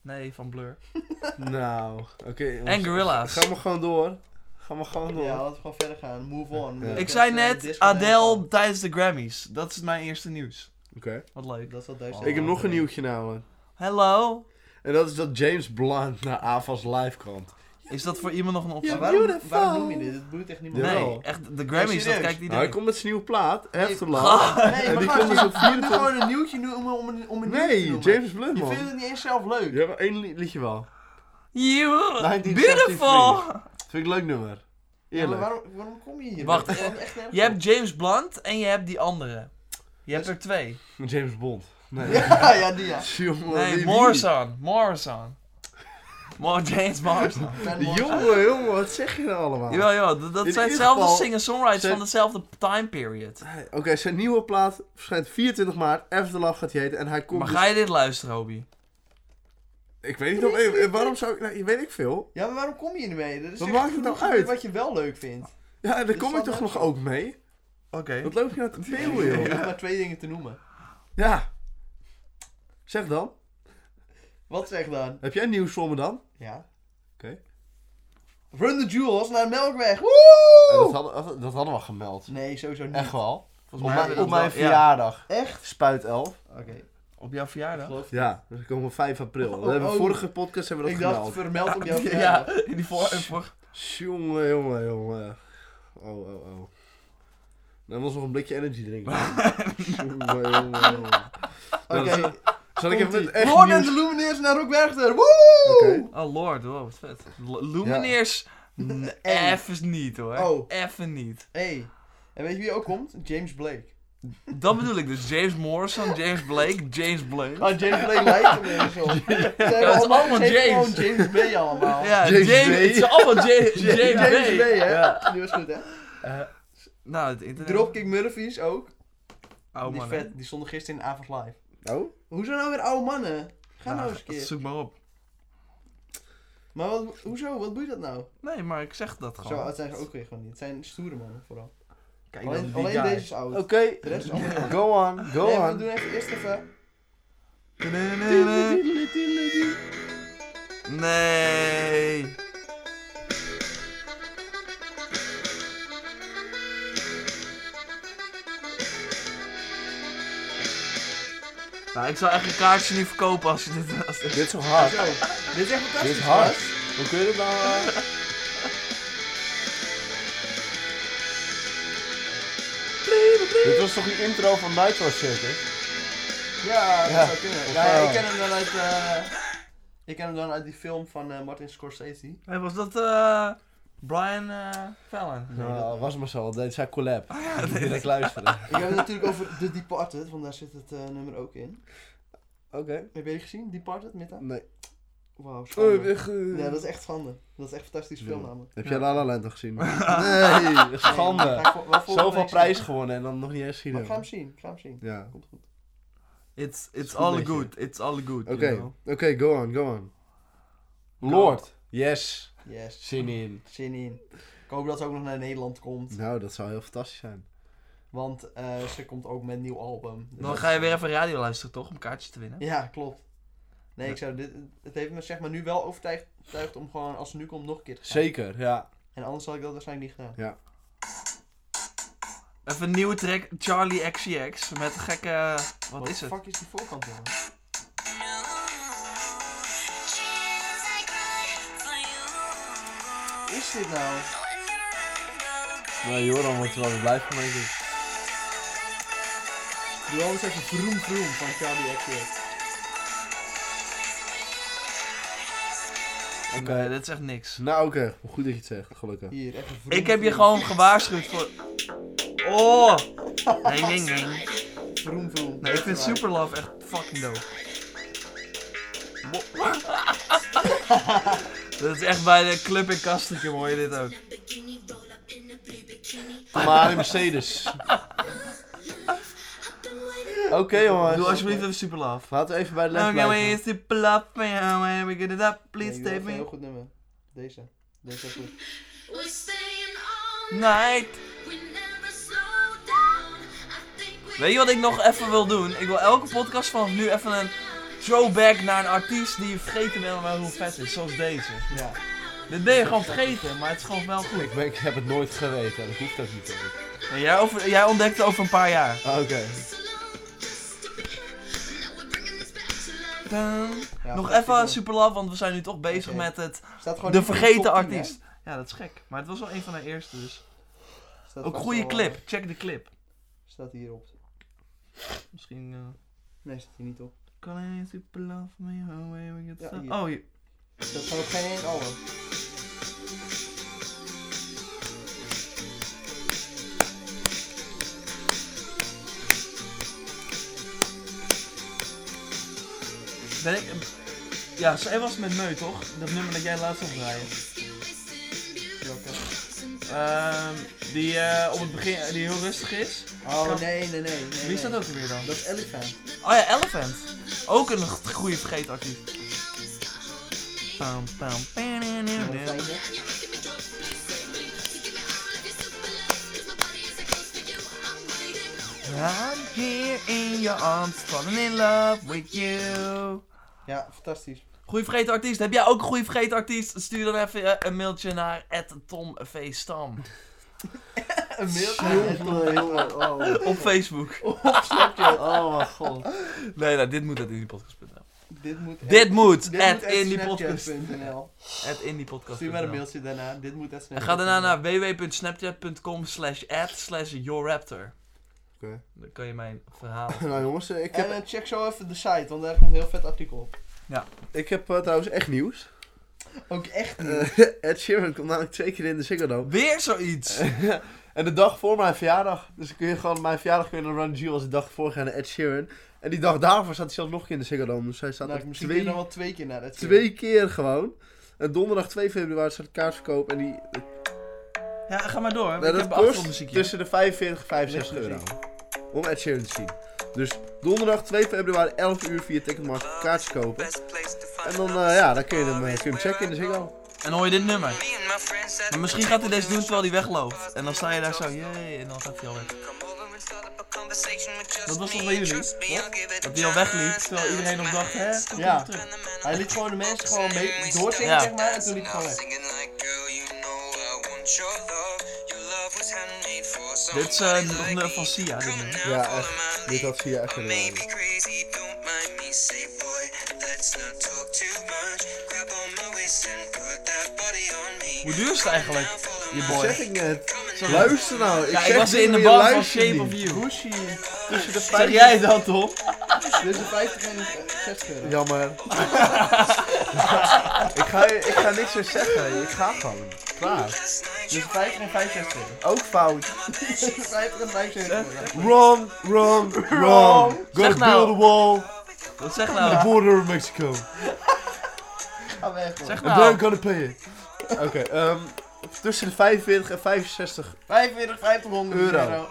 Nee, van Blur.
Nou, oké. jongens.
En Gorilla's.
Ga maar gewoon door. Ga maar gewoon door.
Ja, laten we gewoon verder gaan. Move on.
Ja.
Ik
Dat,
zei
eh,
net
Disco
Adele tijdens de Grammys. Dat is mijn eerste nieuws.
Oké.
Wat leuk.
Dat is wel duizend.
Ik heb
Oh,
nog een
nee.
nieuwtje nou. man.
Hello.
En dat is dat James Blunt naar AFAS live komt.
Is dat voor iemand nog een
Maar
optie?
waarom,
Beautiful.
waarom noem je dit? Het boeit echt niemand.
Nee,
Jawel.
echt, de Grammys, dat
serieus?
kijkt
Nou, hij
iedereen.
komt met zijn nieuwe plaat, Afterlife.
Ah,
Nee,
En
maar
die
gast,
komt dus
je
op
moet
24...
gewoon een nieuwtje noemen om, om, een- om een nieuwtje te
Nee,
noemen.
James Blunt
Je
man.
vindt het niet eens zelf leuk.
Je hebt één li- liedje wel.
you are
1973.
beautiful.
Vind ik een leuk nummer.
Ja, maar
Eerlijk.
waarom, waarom kom je hier?
Wacht,
Dat kan echt nergens
Je hebt James Blunt en je hebt die andere. Je hebt er twee.
James Bond. Nee.
op. Ja, ja, die ja.
Jongen, wie-
Nee,
wie?
Morrison. Morrison. Mo- James Morrison.
Ben Morrison.
Jongen, jongen, wat zeg je nou allemaal?
Jawel, jawel. Dat, dat
In
zijn
ieder
dezelfde
geval
singer-songwriters
zijn-
van dezelfde time period.
Oké, zijn nieuwe plaat verschijnt 24 maart. Afterlife gaat hij heten. En hij komt
Maar
dus-
ga je dit luisteren, Hobie?
Ik weet niet of... eh, eh, Waarom zou ik... Nou, weet ik veel.
Ja, maar waarom kom je hier mee? Dat is
Wat
echt
maakt het nou
genoeg
uit?
Wat je wel leuk vindt.
Ja, en daar
Dit
kom ik
staat
toch
nergens
nog ook mee?
Oké.
Wat loop je nou te peeuwen,
Je
joh?
hoeft maar twee dingen te noemen.
Ja. Zeg dan.
Wat zeg dan?
Heb jij nieuws voor me dan?
Ja.
Oké.
Run the Jewels naar de Melkweg.
dat,
Woe!
hadden, dat hadden we gemeld.
Nee, sowieso niet.
Echt wel. Op,
mij hebben
mijn,
we
op
dat
mijn
wel- ja.
verjaardag.
Echt?
Spuit 11.
Oké.
Op jouw verjaardag?
Geloof ik.
Ja, dus komen 5 april.
Oh,
we hebben
oh.
vorige podcast hebben we
ik
dat
dacht,
gemeld.
vermeld op jouw
Ja,
verjaardag.
in die voor... in voor-
Jongen, jongen, jongen. Oh, oh, oh. Dan was nog een blikje energy drinken. jongen, jongen, jongen.
Oké.
Nou, zal- Zal ik even
Komt-ie.
met echt
Lorne en
nieuws...
de Lumineers naar Rockwerchter. Woe!
Oké.
Oh lord, wow, wat vet. L- Lumineers, n-
Eng.
even niet hoor.
Oh.
Even niet.
Hey. En weet je wie ook komt? James Blake.
Dat bedoel ik dus. James Morrison, James Blake, James Blake.
Oh,
Ah, James Blake lijkt er weer eens op. Ze hebben
dat is allemaal
geef
James.
Gewoon James Bay allemaal.
Ja,
James
James,
Bay.
het is allemaal James, James,
James
Bay.
Bay, hè? Die was goed, hè?
Nou, het internet.
Dropkick Murphys ook.
Oh
die
man,
vet, die stonden gisteren in Avond Live.
Oh?
Hoezo nou weer oude mannen? Ga nou,
Nou,
eens een keer.
Zoek maar op.
Maar wat, hoezo? Wat boeit dat nou?
Nee, maar ik zeg dat
Zo
gewoon.
oud zijn ze ook weer gewoon niet. Het zijn stoere mannen vooral.
Kijk, dan
Alleen,
die
alleen
guy.
deze is oud.
Oké.
De rest is allemaal jong.
Go on, go
Nee, maar we
on.
doen even eerst even...
Nee. Nou, ik zou echt een kaartje niet verkopen als je dit... Als dit...
Dit is zo hard.
Zo, dit is echt fantastisch.
Dit is hard.
gast.
Hoe kun je dat nou... eh? Dit was toch die intro van Nightwatch Circus?
Ja, dat
Ja.
zou kunnen.
Of
Nou,
wel.
ik ken hem dan uit... eh, ik ken hem dan uit die film van eh, Martin Scorsese.
Hey, was dat eh Brian eh Fallon?
Nou, was maar zo. want Dit zijn collab. Direct luisteren.
Ik heb het natuurlijk over The Departed, want daar zit het eh, nummer ook in.
Oké.
Heb je die gezien? Departed, Mitta?
Nee.
Wauw,
Oh,
schande.
weg, eh.
Ja, dat is echt schande. Dat is echt fantastisch
Ja.
film namelijk.
Heb
Ja.
jij La La Land al gezien? Nee,
Nee,
schande.
ga ik vo- wel volgende
Zoveel
week
prijs
zien.
gewonnen en dan nog niet eens gezien
Maar ik ga hem
hebben.
zien, ik ga hem zien.
Ja.
Komt goed.
It's,
Is
it's
goed
all
met je.
good. It's all good.
Oké,
you
oké,
know.
go on, go on. Lord. Yes.
Yes,
Zin in.
zin in. Ik hoop dat ze ook nog naar Nederland komt,
Nou, dat zou heel fantastisch zijn.
want eh, ze komt ook met een nieuw album. Dus
Dan
dat-
ga je weer even radio luisteren, toch? Om kaartjes te winnen.
Ja, klopt. Nee, ik zou dit, het heeft me zeg maar nu wel overtuigd overtuigd om gewoon als ze nu komt nog een keer te gaan.
Zeker, ja.
En anders had ik dat waarschijnlijk niet gedaan.
Even een nieuwe track, Charlie XCX. Met gekke. Wat
What
is
the
het?
fuck is die voorkant jongen? Is dit nou?
Nou, Joran wordt er wel weer blij van, denk ik.
Doe alles even vroom vroom van Charlie XCX.
Oké.
Nee, dit is echt niks.
Nou, oké. Goed dat je het zegt, gelukkig.
Hier, even vroom
Ik heb je
vroom.
gewoon gewaarschuwd voor. Oh! Nee, nee, nee.
Vroom vroom.
Nee, ik vind Superlove echt fucking dope. Mo- Dat is echt bij de club in Kastrikum hoor je dit ook.
Maar in Mercedes. Oké, jongens.
Doe alsjeblieft even Superlove.
Laten we even bij de les
I'm
blijven.
going Superlove, man. We get it up, please
nee,
take
Een heel
me.
goed nummer. Deze. Deze is goed.
Night. Weet je wat ik nog even wil doen? Ik wil elke podcast vanaf nu even een throwback naar een artiest die je vergeten bent, maar hoe vet is. Zoals deze.
Ja.
Dit ben je gewoon vergeten, maar het is gewoon wel goed.
Ik, ben, ik heb het nooit geweten, en dat hoeft ook niet. hoor.
Nee, jij, over, jij ontdekt het over een paar jaar.
Ah, Oké.
Dun.
ja
Nog
goed,
even
goed.
Superlove, want we zijn nu toch bezig
Oké.
met het
Staat gewoon
de
niet in
vergeten
top 10, hè?
artiest. Ja, dat is gek. Maar het was wel een van de eerste dus.
Staat
Ook
vast
goede
wel,
clip.
eh,
Check de clip.
Staat hierop.
Misschien... eh
Nee, staat hier niet op.
Can I Superlove me how way we get
Ja,
some-
hier.
Oh, hier.
Staat gewoon op geen één album.
Ben ik... Ja, zij was met Neu, toch? Dat nummer dat jij laatst opdraaide.
Welke?
Ehm die eh, op het begin... Die heel rustig is.
Oh
Kan-
nee, nee, nee. nee
Wie is
nee.
dat ook weer dan?
Dat is Elephant.
Oh ja, Elephant. Ook een g- goede vergeten artiest. Pam, pam, pam, pam,
Ja,
pam,
dat
pam.
zijn ze.
I'm here in your arms, falling in love with you.
Ja, fantastisch.
Goeie vergeten artiest. Heb jij ook een goeie vergeten artiest? Stuur dan even eh, een mailtje naar @tomvstam
Een mailtje.
jongen. Oh.
op Facebook.
oh, mijn god.
Nee, nou, dit moet at indiepodcast.nl.
Dit moet echt-
Dit moet
dit
at
moet echt
indiepodcast.
snapchat.nl.
At indiepodcast.
Stuur maar een mailtje daarna. Dit moet echt
En ga daarna naar www.snapchat.com slash ad slash yourraptor.
Oké.
Dan kan je mijn verhaal.
Nou jongens, eh, ik
En
heb,
eh, check zo even de site, want daar komt een heel vet artikel op.
ik heb eh, trouwens echt nieuws.
Ook echt niet.
Eh, Ed Sheeran komt namelijk twee keer in de Ziggo Dome.
Weer zoiets!
en de dag voor mijn verjaardag. Dus kun je gewoon mijn verjaardag kun je naar Run G als de dag voor gaan naar Ed Sheeran. En die dag daarvoor staat hij zelfs nog een keer in de Ziggo Dome. Dus hij staat
nou,
er
misschien kun
twee,
je nog wel twee keer naar het
twee keer gewoon. En donderdag 2 februari staat kaartverkoop en die...
Ja, ga maar door.
nou,
ik
dat
heb
kost
achtergrondmuziekje.
tussen de 45 en 65 euro. Om Ed Sheeran te zien. Dus donderdag 2 februari 11 uur via Ticketmaster kaartjes kopen. En dan, eh, ja, dan kun je hem, eh, kun je hem checken in de Ziggo.
En hoor je dit nummer. Maar misschien gaat hij deze doen terwijl hij wegloopt. En dan sta je daar zo, jee, en dan gaat hij al weg. Dat was toch bij jullie, toch? Dat hij al wegliep, terwijl iedereen nog dacht, hè, komt
Ja.
hij terug.
Hij liet gewoon de mensen gewoon mee doorzingen,
Ja.
zeg maar, en toen liep hij gewoon weg.
Dit is eh, nog een van Sia, dit nummer.
Ja, echt. Dit had Sia echt gedaan.
Maybe crazy, don't mind me, say boy, let's not talk too much. Grab on my waist and put that body on me.
Hoe duur is het eigenlijk, je
Dat zeg
boy?
ik net.
Sorry.
Luister nou. Ik
Ja, ik
zeg
was in de
jullie,
band van
luister
Shape of
niet.
You.
Gucci.
Tussen de
Zeg
50
jij dat, Tom?
Dus de 50 en eh, 60 euro.
Jammer. ik, ga, ik ga niks meer zeggen. Ik ga gewoon. Klaar.
Dus 50 en 65 euro.
Ook fout.
50 en 65 euro.
Wrong, wrong, wrong. Gotta
Zeg nou.
build a wall.
Wat zeg
on The
nou?
border of Mexico.
Ga weg, man.
Zeg
I'm
nou.
gonna pay it. Oké, ehm, tussen de 45 en 65.
45, 500 euro.
Euro.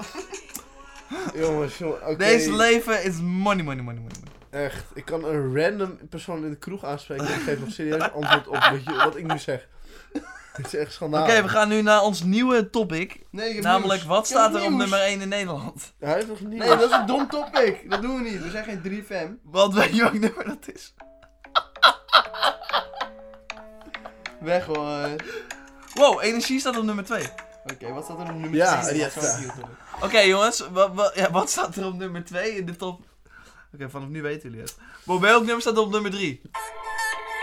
Jongens, jongen, oké.
Deze leven is money, money, money, money.
Echt, ik kan een random persoon in de kroeg aanspreken en ik geef nog serieus antwoord op wat, je- wat ik nu zeg. Dit is echt
Oké,
schandaal.
we gaan nu naar ons nieuwe topic.
Nee, ik heb
Namelijk,
nieuws.
wat
Ik heb
staat er op
nieuws.
nummer 1 in Nederland?
Hij heeft nog niet.
Nee, dat is een dom topic. Dat doen we niet. We zijn geen 3FM.
Want weet je welk nummer dat is?
Weg hoor.
Wow, energie staat op nummer 2. Oké
Oké, wat staat er op nummer
Ja,
10?
die
Dat is
echt,
zo'n
ja.
idioot.
jongens, wa- wa- ja, wat staat er op nummer 2 in de top? Oké, vanaf nu weten jullie het. Maar welk nummer staat er op nummer Oh, 3?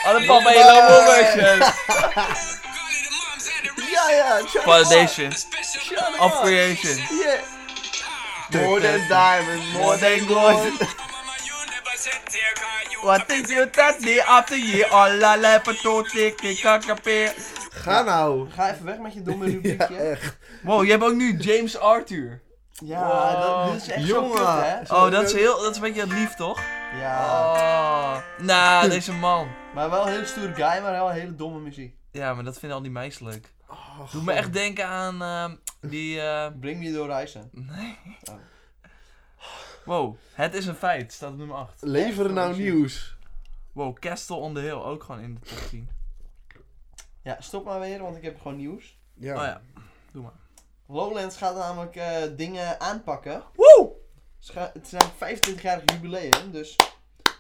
Alle papa je love
Ja, ja. Shut
Validation.
Special
Of creation.
Yeah. More than diamond, more than
gold. What is your daddy after you? All la la patot, tikkie, kakapé.
Ga nou.
Ga even weg met je domme
Ja,
rubriekje. Ja,
echt.
Wow, je hebt ook nu James Arthur.
dat, dit is echt zo
Jongen.
kut, hè?
Oh, dat is, heel, dat is een beetje het lief, toch?
Ja.
Oh. Nou, deze man.
Maar wel een heel stoer guy, maar wel hele domme muziek.
Ja, maar dat vinden al die meisjes leuk.
Oh,
Doe me echt denken aan ehm, die... eh,
Breng me door reizen.
Nee.
Oh.
Wow, het is een feit. Staat op nummer 8.
Lever nou nieuws.
Wow, Castle on the Hill. Ook gewoon in de top 10.
Ja, stop maar weer, want ik heb gewoon nieuws.
Ja.
Oh ja. Doe maar.
Lowlands gaat namelijk eh, dingen aanpakken.
Woe!
Ze gaan- Het zijn 25-jarig jubileum, dus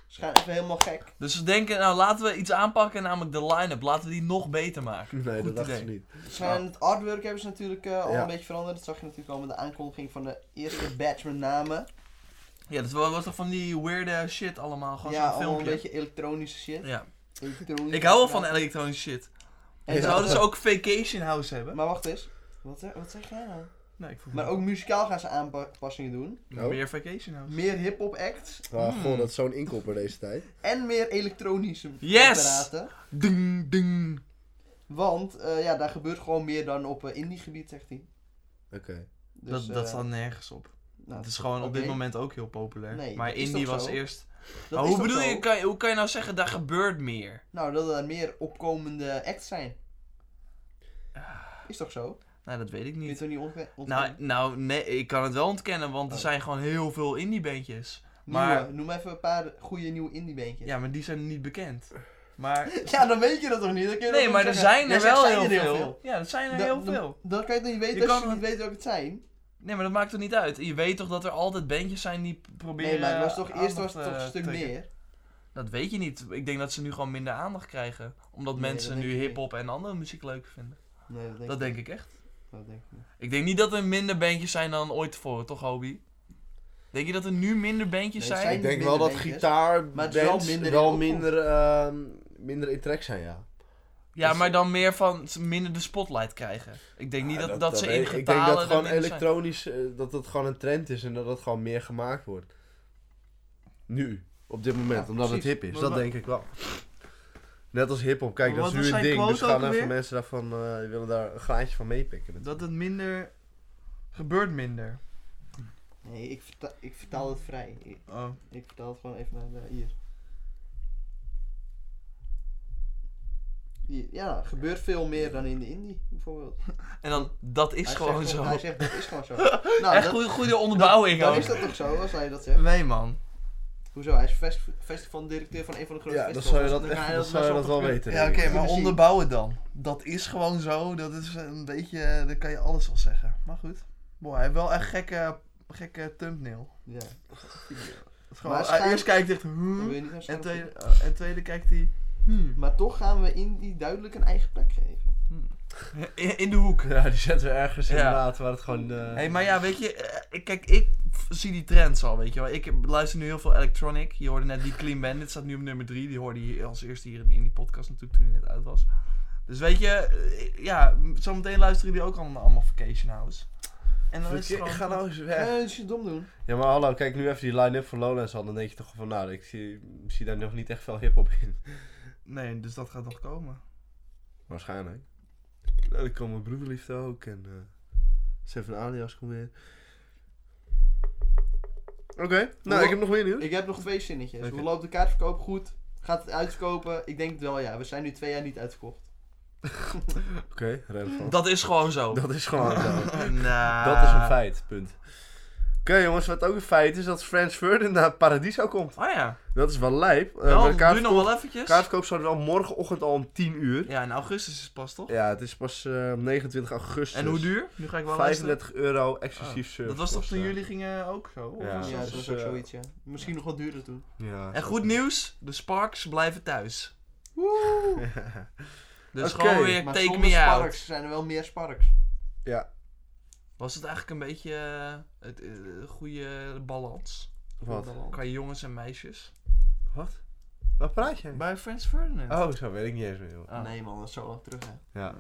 ze gaan even helemaal gek.
Dus ze denken, nou laten we iets aanpakken, namelijk de line-up. Laten we die nog beter maken.
Nee, dat
Goed
dacht
idee.
ze niet.
Ze gaan het artwork hebben ze natuurlijk eh, al
Ja.
een beetje veranderd. Dat zag je natuurlijk al met de aankondiging van de eerste batch met namen.
Ja, dat was toch van die weirde shit allemaal. Gewoon
Ja,
zo'n
allemaal een
filmpje.
beetje elektronische shit.
Ja.
Elektronische
Ik hou wel van
namen.
elektronische shit.
En ze
Zouden
houden
ze ook Vacation House hebben?
Maar wacht eens. Wat, wat zeg jij nou?
Nee, ik voel
Maar ook muzikaal gaan ze aanpassingen doen.
Oh.
meer Vacation House.
Meer hip-hop acts.
Ah, god, dat is zo'n inkopper deze tijd.
En meer elektronische
Yes!
apparaten.
Ding, ding.
Want eh, ja, daar gebeurt gewoon meer dan op eh, indie gebied, zegt hij.
Oké.
Dus,
Dat, dat
eh,
staat nergens op.
nou,
Het is gewoon op dit
oké.
moment ook heel populair.
Nee,
maar
dat is
indie
toch
was
zo?
eerst.
dat
Maar
is
hoe
toch
bedoel
zo?
je, kan, je- hoe kan je nou zeggen, daar gebeurt meer?
Nou, dat er meer opkomende acts zijn. Is toch zo?
Nou, dat weet ik
Kun je
niet.
het er niet ontwe- ontkennen?
Nou, nou, nee, ik kan het wel ontkennen, want er
Oh.
zijn gewoon heel veel indie bandjes.
Nieuwe.
maar-
Noem even een paar goede nieuwe indie bandjes.
Ja, maar die zijn niet bekend. Maar.
Ja, dan weet je dat toch niet? Dan kun je
Nee,
dat
maar
toch
er
zeggen.
zijn
Jij
er
zegt,
wel
zijn
heel veel. Ja, er zijn er
Dan-
heel
dan-
veel.
Dan kan je het niet weten
Je
als je
kan-
niet weet welke het zijn.
Nee, maar dat maakt toch niet uit. Je weet toch dat er altijd bandjes zijn die p- proberen.
Nee, maar het was toch,
eh,
eerst was het
aandacht,
toch een
eh,
stuk
te trekken.
meer.
Dat weet je niet. Ik denk dat ze nu gewoon minder aandacht krijgen. Omdat
Nee, dat
mensen
denk
nu
ik niet.
hip-hop en andere muziek leuk vinden.
Nee, dat denk
Dat
ik
denk ik echt.
niet. Dat denk ik niet.
Ik denk niet dat er minder bandjes zijn dan ooit tevoren, toch, Hobby? Denk je dat er nu minder bandjes
Nee, het
zijn?
Ik denk
minder
wel dat
bandjes,
gitaar
maar het is wel
bands
minder in
wel
opkomst.
minder, ehm, minder in trek zijn, ja.
Ja, maar dan meer van ze minder de spotlight krijgen. Ik denk niet
Ja,
dat, dat, ze in
weet ik.
getalen
Ik denk dat
er
gewoon
minder zijn.
elektronisch, eh, dat het gewoon een trend is en dat het gewoon meer gemaakt wordt. Nu, op dit moment,
Ja,
omdat
precies.
het hip is.
Maar
Dat
wa-
denk ik wel. Net als hip-hop, kijk,
Maar
dat is
wat
nu
was
een
zijn
ding. Dus
quote ook
gaan even
alweer?
mensen daarvan, eh, die willen daar een graantje van meepikken. met-
Dat het minder... Gebeurt minder.
Nee, ik, verta- ik vertaal het vrij. Ik,
Oh.
ik vertaal het gewoon even naar de, hier. Hier, Ja, gebeurt veel meer dan in de indie, bijvoorbeeld.
En dan, dat is
Hij
gewoon
zegt,
zo.
gewoon- Hij zegt, dat is gewoon zo.
Echt
nou, dat,
goede, goede onderbouwing
dan
ook.
is dat toch zo, als hij dat zegt.
Nee, man.
Hoezo, hij is fest- festivaldirecteur van een van de grote
Ja, dan zou
festivals.
je dat,
dus dan
echt,
ga je
dan zou
best
je dat wel
goed-
weten.
Ja,
denk
oké,
ik.
maar
Precies.
onderbouw het dan. Dat is gewoon zo. Dat is een beetje. Daar kan je alles al zeggen. Maar goed. Boy, hij heeft wel een gekke, gekke thumbnail.
Ja,
Het is gewoon,
Ah,
Maar
hij
schijn-
Eerst kijkt hij echt.
dan wil
Hmm,
je niet naar
en,
staan.
tweede, eh, en tweede kijkt hij. hmm.
Maar toch gaan we indie duidelijk een eigen plek geven.
In, in de hoek.
Ja, die zetten we ergens
Ja.
inderdaad waar het gewoon... eh,
Hey, maar ja, weet je. eh, ik- Kijk, ik f- zie die trends al. Weet je wel. Ik luister nu heel veel electronic. Je hoorde net die Clean Bandit. Staat nu op nummer 3. Die hoorde je als eerste hier in, in die podcast natuurlijk toen hij net uit was. Dus weet je. eh, Ja, zometeen luisteren jullie ook allemaal naar allemaal Vacation House. En dan is het
ik
gewoon...
ga nou eens weg.
Nee, dat is Eh, dus je dom doen.
Ja, maar hallo, kijk nu even die line-up van Lowlands aan. Dan denk je toch van, nou, ik zie, zie daar nog niet echt veel hip-hop in.
Nee, dus dat gaat nog komen.
Waarschijnlijk. Nou, dan komt mijn broederliefde ook en eh Seven Alias komt weer. Oké, nou,
Hoe-
ik heb nog meer nieuws.
Ik heb nog twee zinnetjes.
Oké.
Hoe loopt de kaartverkoop? Goed. Gaat het uitverkopen? Ik denk het wel, ja. We zijn nu twee jaar niet uitverkocht.
Oké, relevant.
Dat Ah. is gewoon zo. Nou.
Dat is gewoon zo.
Nah.
Dat is een feit, punt. Oké jongens, wat ook een feit is dat Frans Ferdinand naar Paradiso komt.
Oh ja.
Dat is wel lijp. Eh, maar
Wel,
de
nu Nou, nog
kaartverkoop-
wel eventjes.
kaartverkoop start wel morgenochtend al om 10 uur.
Ja, in augustus is het pas toch?
Ja, dus het is pas eh, 29 augustus.
En hoe duur? Nu ga ik wel luisteren.
35 euro exclusief service.
Ah, Dat was toch
kosten.
toen jullie gingen ook zo? Of
Ja.
was
Ja,
dat-
dat
dus,
is ook
eh,
zoiets, ja. Misschien nog wat duurder toen.
Ja.
En goed nieuws, de Sparks blijven thuis.
Woe!
Dus
Oké,
gewoon weer
Maar
take
zonder
me out.
Sparks zijn er wel meer Sparks.
Ja,
Was het eigenlijk een beetje eh, het eh, goede balans?
wat?
Qua jongens en meisjes.
Wat? Waar praat je?
Bij Frans Ferdinand.
Oh, zo weet ik niet eens meer. joh.
Ah.
Nee man, dat is zo lang terug hè.
Ja.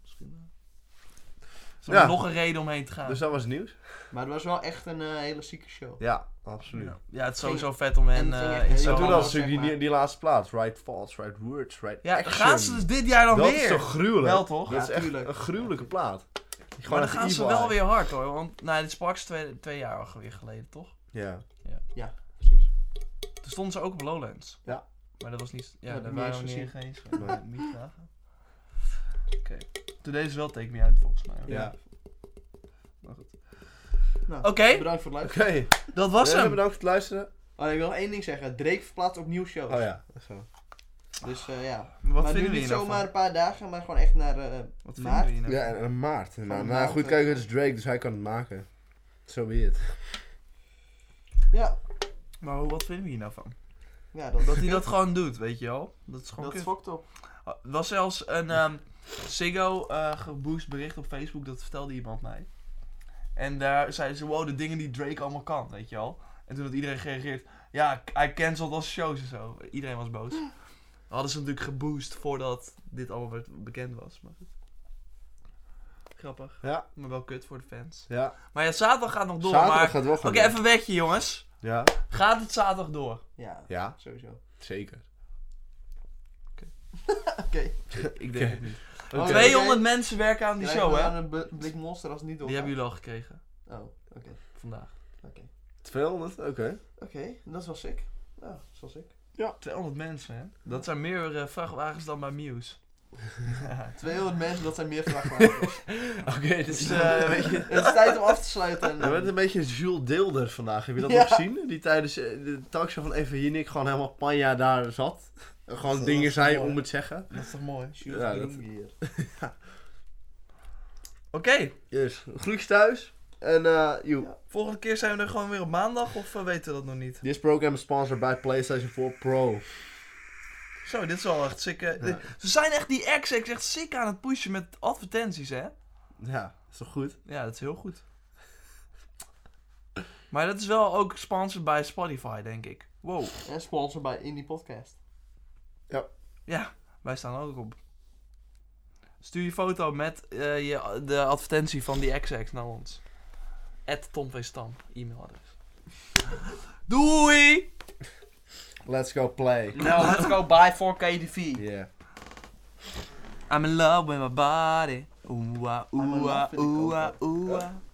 Misschien wel. Is
Ja.
er nog een reden om heen te gaan?
Dus dat was het nieuws?
Maar het was wel echt een eh, hele zieke show.
Ja, absoluut.
ja. ja, het is sowieso vet om hen
en het ging
eh,
echt
in
heel
En
zo'n...
toen
Ja,
hadden
zeg
ze natuurlijk die,
maar.
die laatste plaats. Right false, right words, right
Ja,
action.
gaan ze dus dit jaar dan
dat
weer?
is toch gruwelijk?
Wel toch?
Dat
Ja,
is echt
tuurlijk.
een gruwelijke plaat. Die
Maar
gewoon
dan
even
gaan ze
evil
wel
eye.
weer hard hoor, want nou, dit Sparks twee, twee jaar alweer geleden toch?
Ja.
Precies.
Toen stonden ze ook op Lowlands.
Ja.
Maar dat was niet. Ja,
heb
daar
ik niet
waren we
eens
niet eens. eh,
Nee.
Niet vragen. Oké. Toen deze wel Take Me Out volgens mij. hoor.
ja.
Maar goed.
Nou,
Oké,
Bedankt voor het
Oké.
luisteren.
dat was
Eh,
hem.
Bedankt voor het luisteren.
Oh, ik wil één ding zeggen. Drake verplaatst opnieuw shows.
Oh ja. Zo.
Dus eh, ja.
Wat
maar nu
vinden
niet
jullie nou
zomaar
van?
een paar dagen, maar gewoon echt naar eh,
Wat
maart.
vinden jullie nou?
Ja, en, en maart. Nou, nou,
maart,
goed,
eh,
kijk, het is Drake, dus hij kan het maken. Zo so be it.
Ja.
Maar hoe- wat vinden jullie nou van?
ja, dat,
Dat hij dat gewoon doet, weet je wel? Dat is gewoon
dat
kut.
fokt op.
Er was zelfs een ehm Ziggo eh, geboost bericht op Facebook, dat vertelde iemand mij. En daar zeiden ze, wow, de dingen die Drake allemaal kan, weet je wel. En toen had iedereen gereageerd, ja, hij cancelt als shows en zo. Iedereen was boos. Hadden ze natuurlijk geboost voordat dit allemaal werd- bekend was. Maar goed. Grappig,
Ja.
maar wel kut voor de fans.
Ja.
Maar ja, zaterdag gaat nog door,
Zaterdag
maar...
gaat wel
Oké,
goed.
even een wekje jongens.
Ja.
Gaat het zaterdag door?
Ja,
Ja,
sowieso.
zeker.
Oké. Oh,
Ik denk het niet.
Oké.
200 mensen werken aan die
Krijgen
show,
we
hè?
dan Een bl- blik monster als het niet door.
Die hebben jullie al gekregen,
Oh, oké.
vandaag.
Oké,
200? Oké.
Oké, dat is wel sick. Ja, dat is wel sick.
200 mensen, hè? Dat zijn meer eh, vrachtwagens dan bij Muse.
200 mensen, dat zijn meer vragen.
Oké, dus eh weet je...
het is tijd om af te sluiten. En,
We werd een beetje Jules Deelder vandaag. Heb je dat
Ja.
nog gezien? Die tijdens eh, de talkshow van Even Jinek gewoon helemaal panja daar zat. Gewoon
Dat
dingen
was
zei
mooi.
om het zeggen.
Dat is toch mooi? Oké,
Jules
Ja,
Green
dat-
hier.
Yes. Groetjes thuis. En eh, joe.
Ja.
volgende keer zijn we er gewoon weer op maandag of eh, weten we dat nog niet?
This program is sponsored by PlayStation 4 Pro.
Zo, dit is wel echt sick. eh, dit- Ze zijn echt die XX echt sick aan het pushen met advertenties, hè?
Ja, is toch goed?
Ja, dat is heel goed. Maar dat is wel ook sponsored bij Spotify, denk ik. Wow.
En sponsor bij Indie Podcast.
Ja, wij staan ook op. Stuur je foto met eh, je, de advertentie van die XX naar ons. At Tom V. Stam, e-mailadres. Doei!
Let's go play.
Now Nou, let's go buy 4K TV.
Yeah.
I'm in love with my body. Ooh, ah,
I'm in
ooh, ah,
love with the
ooh, ah,
cocoa.
ooh, ah.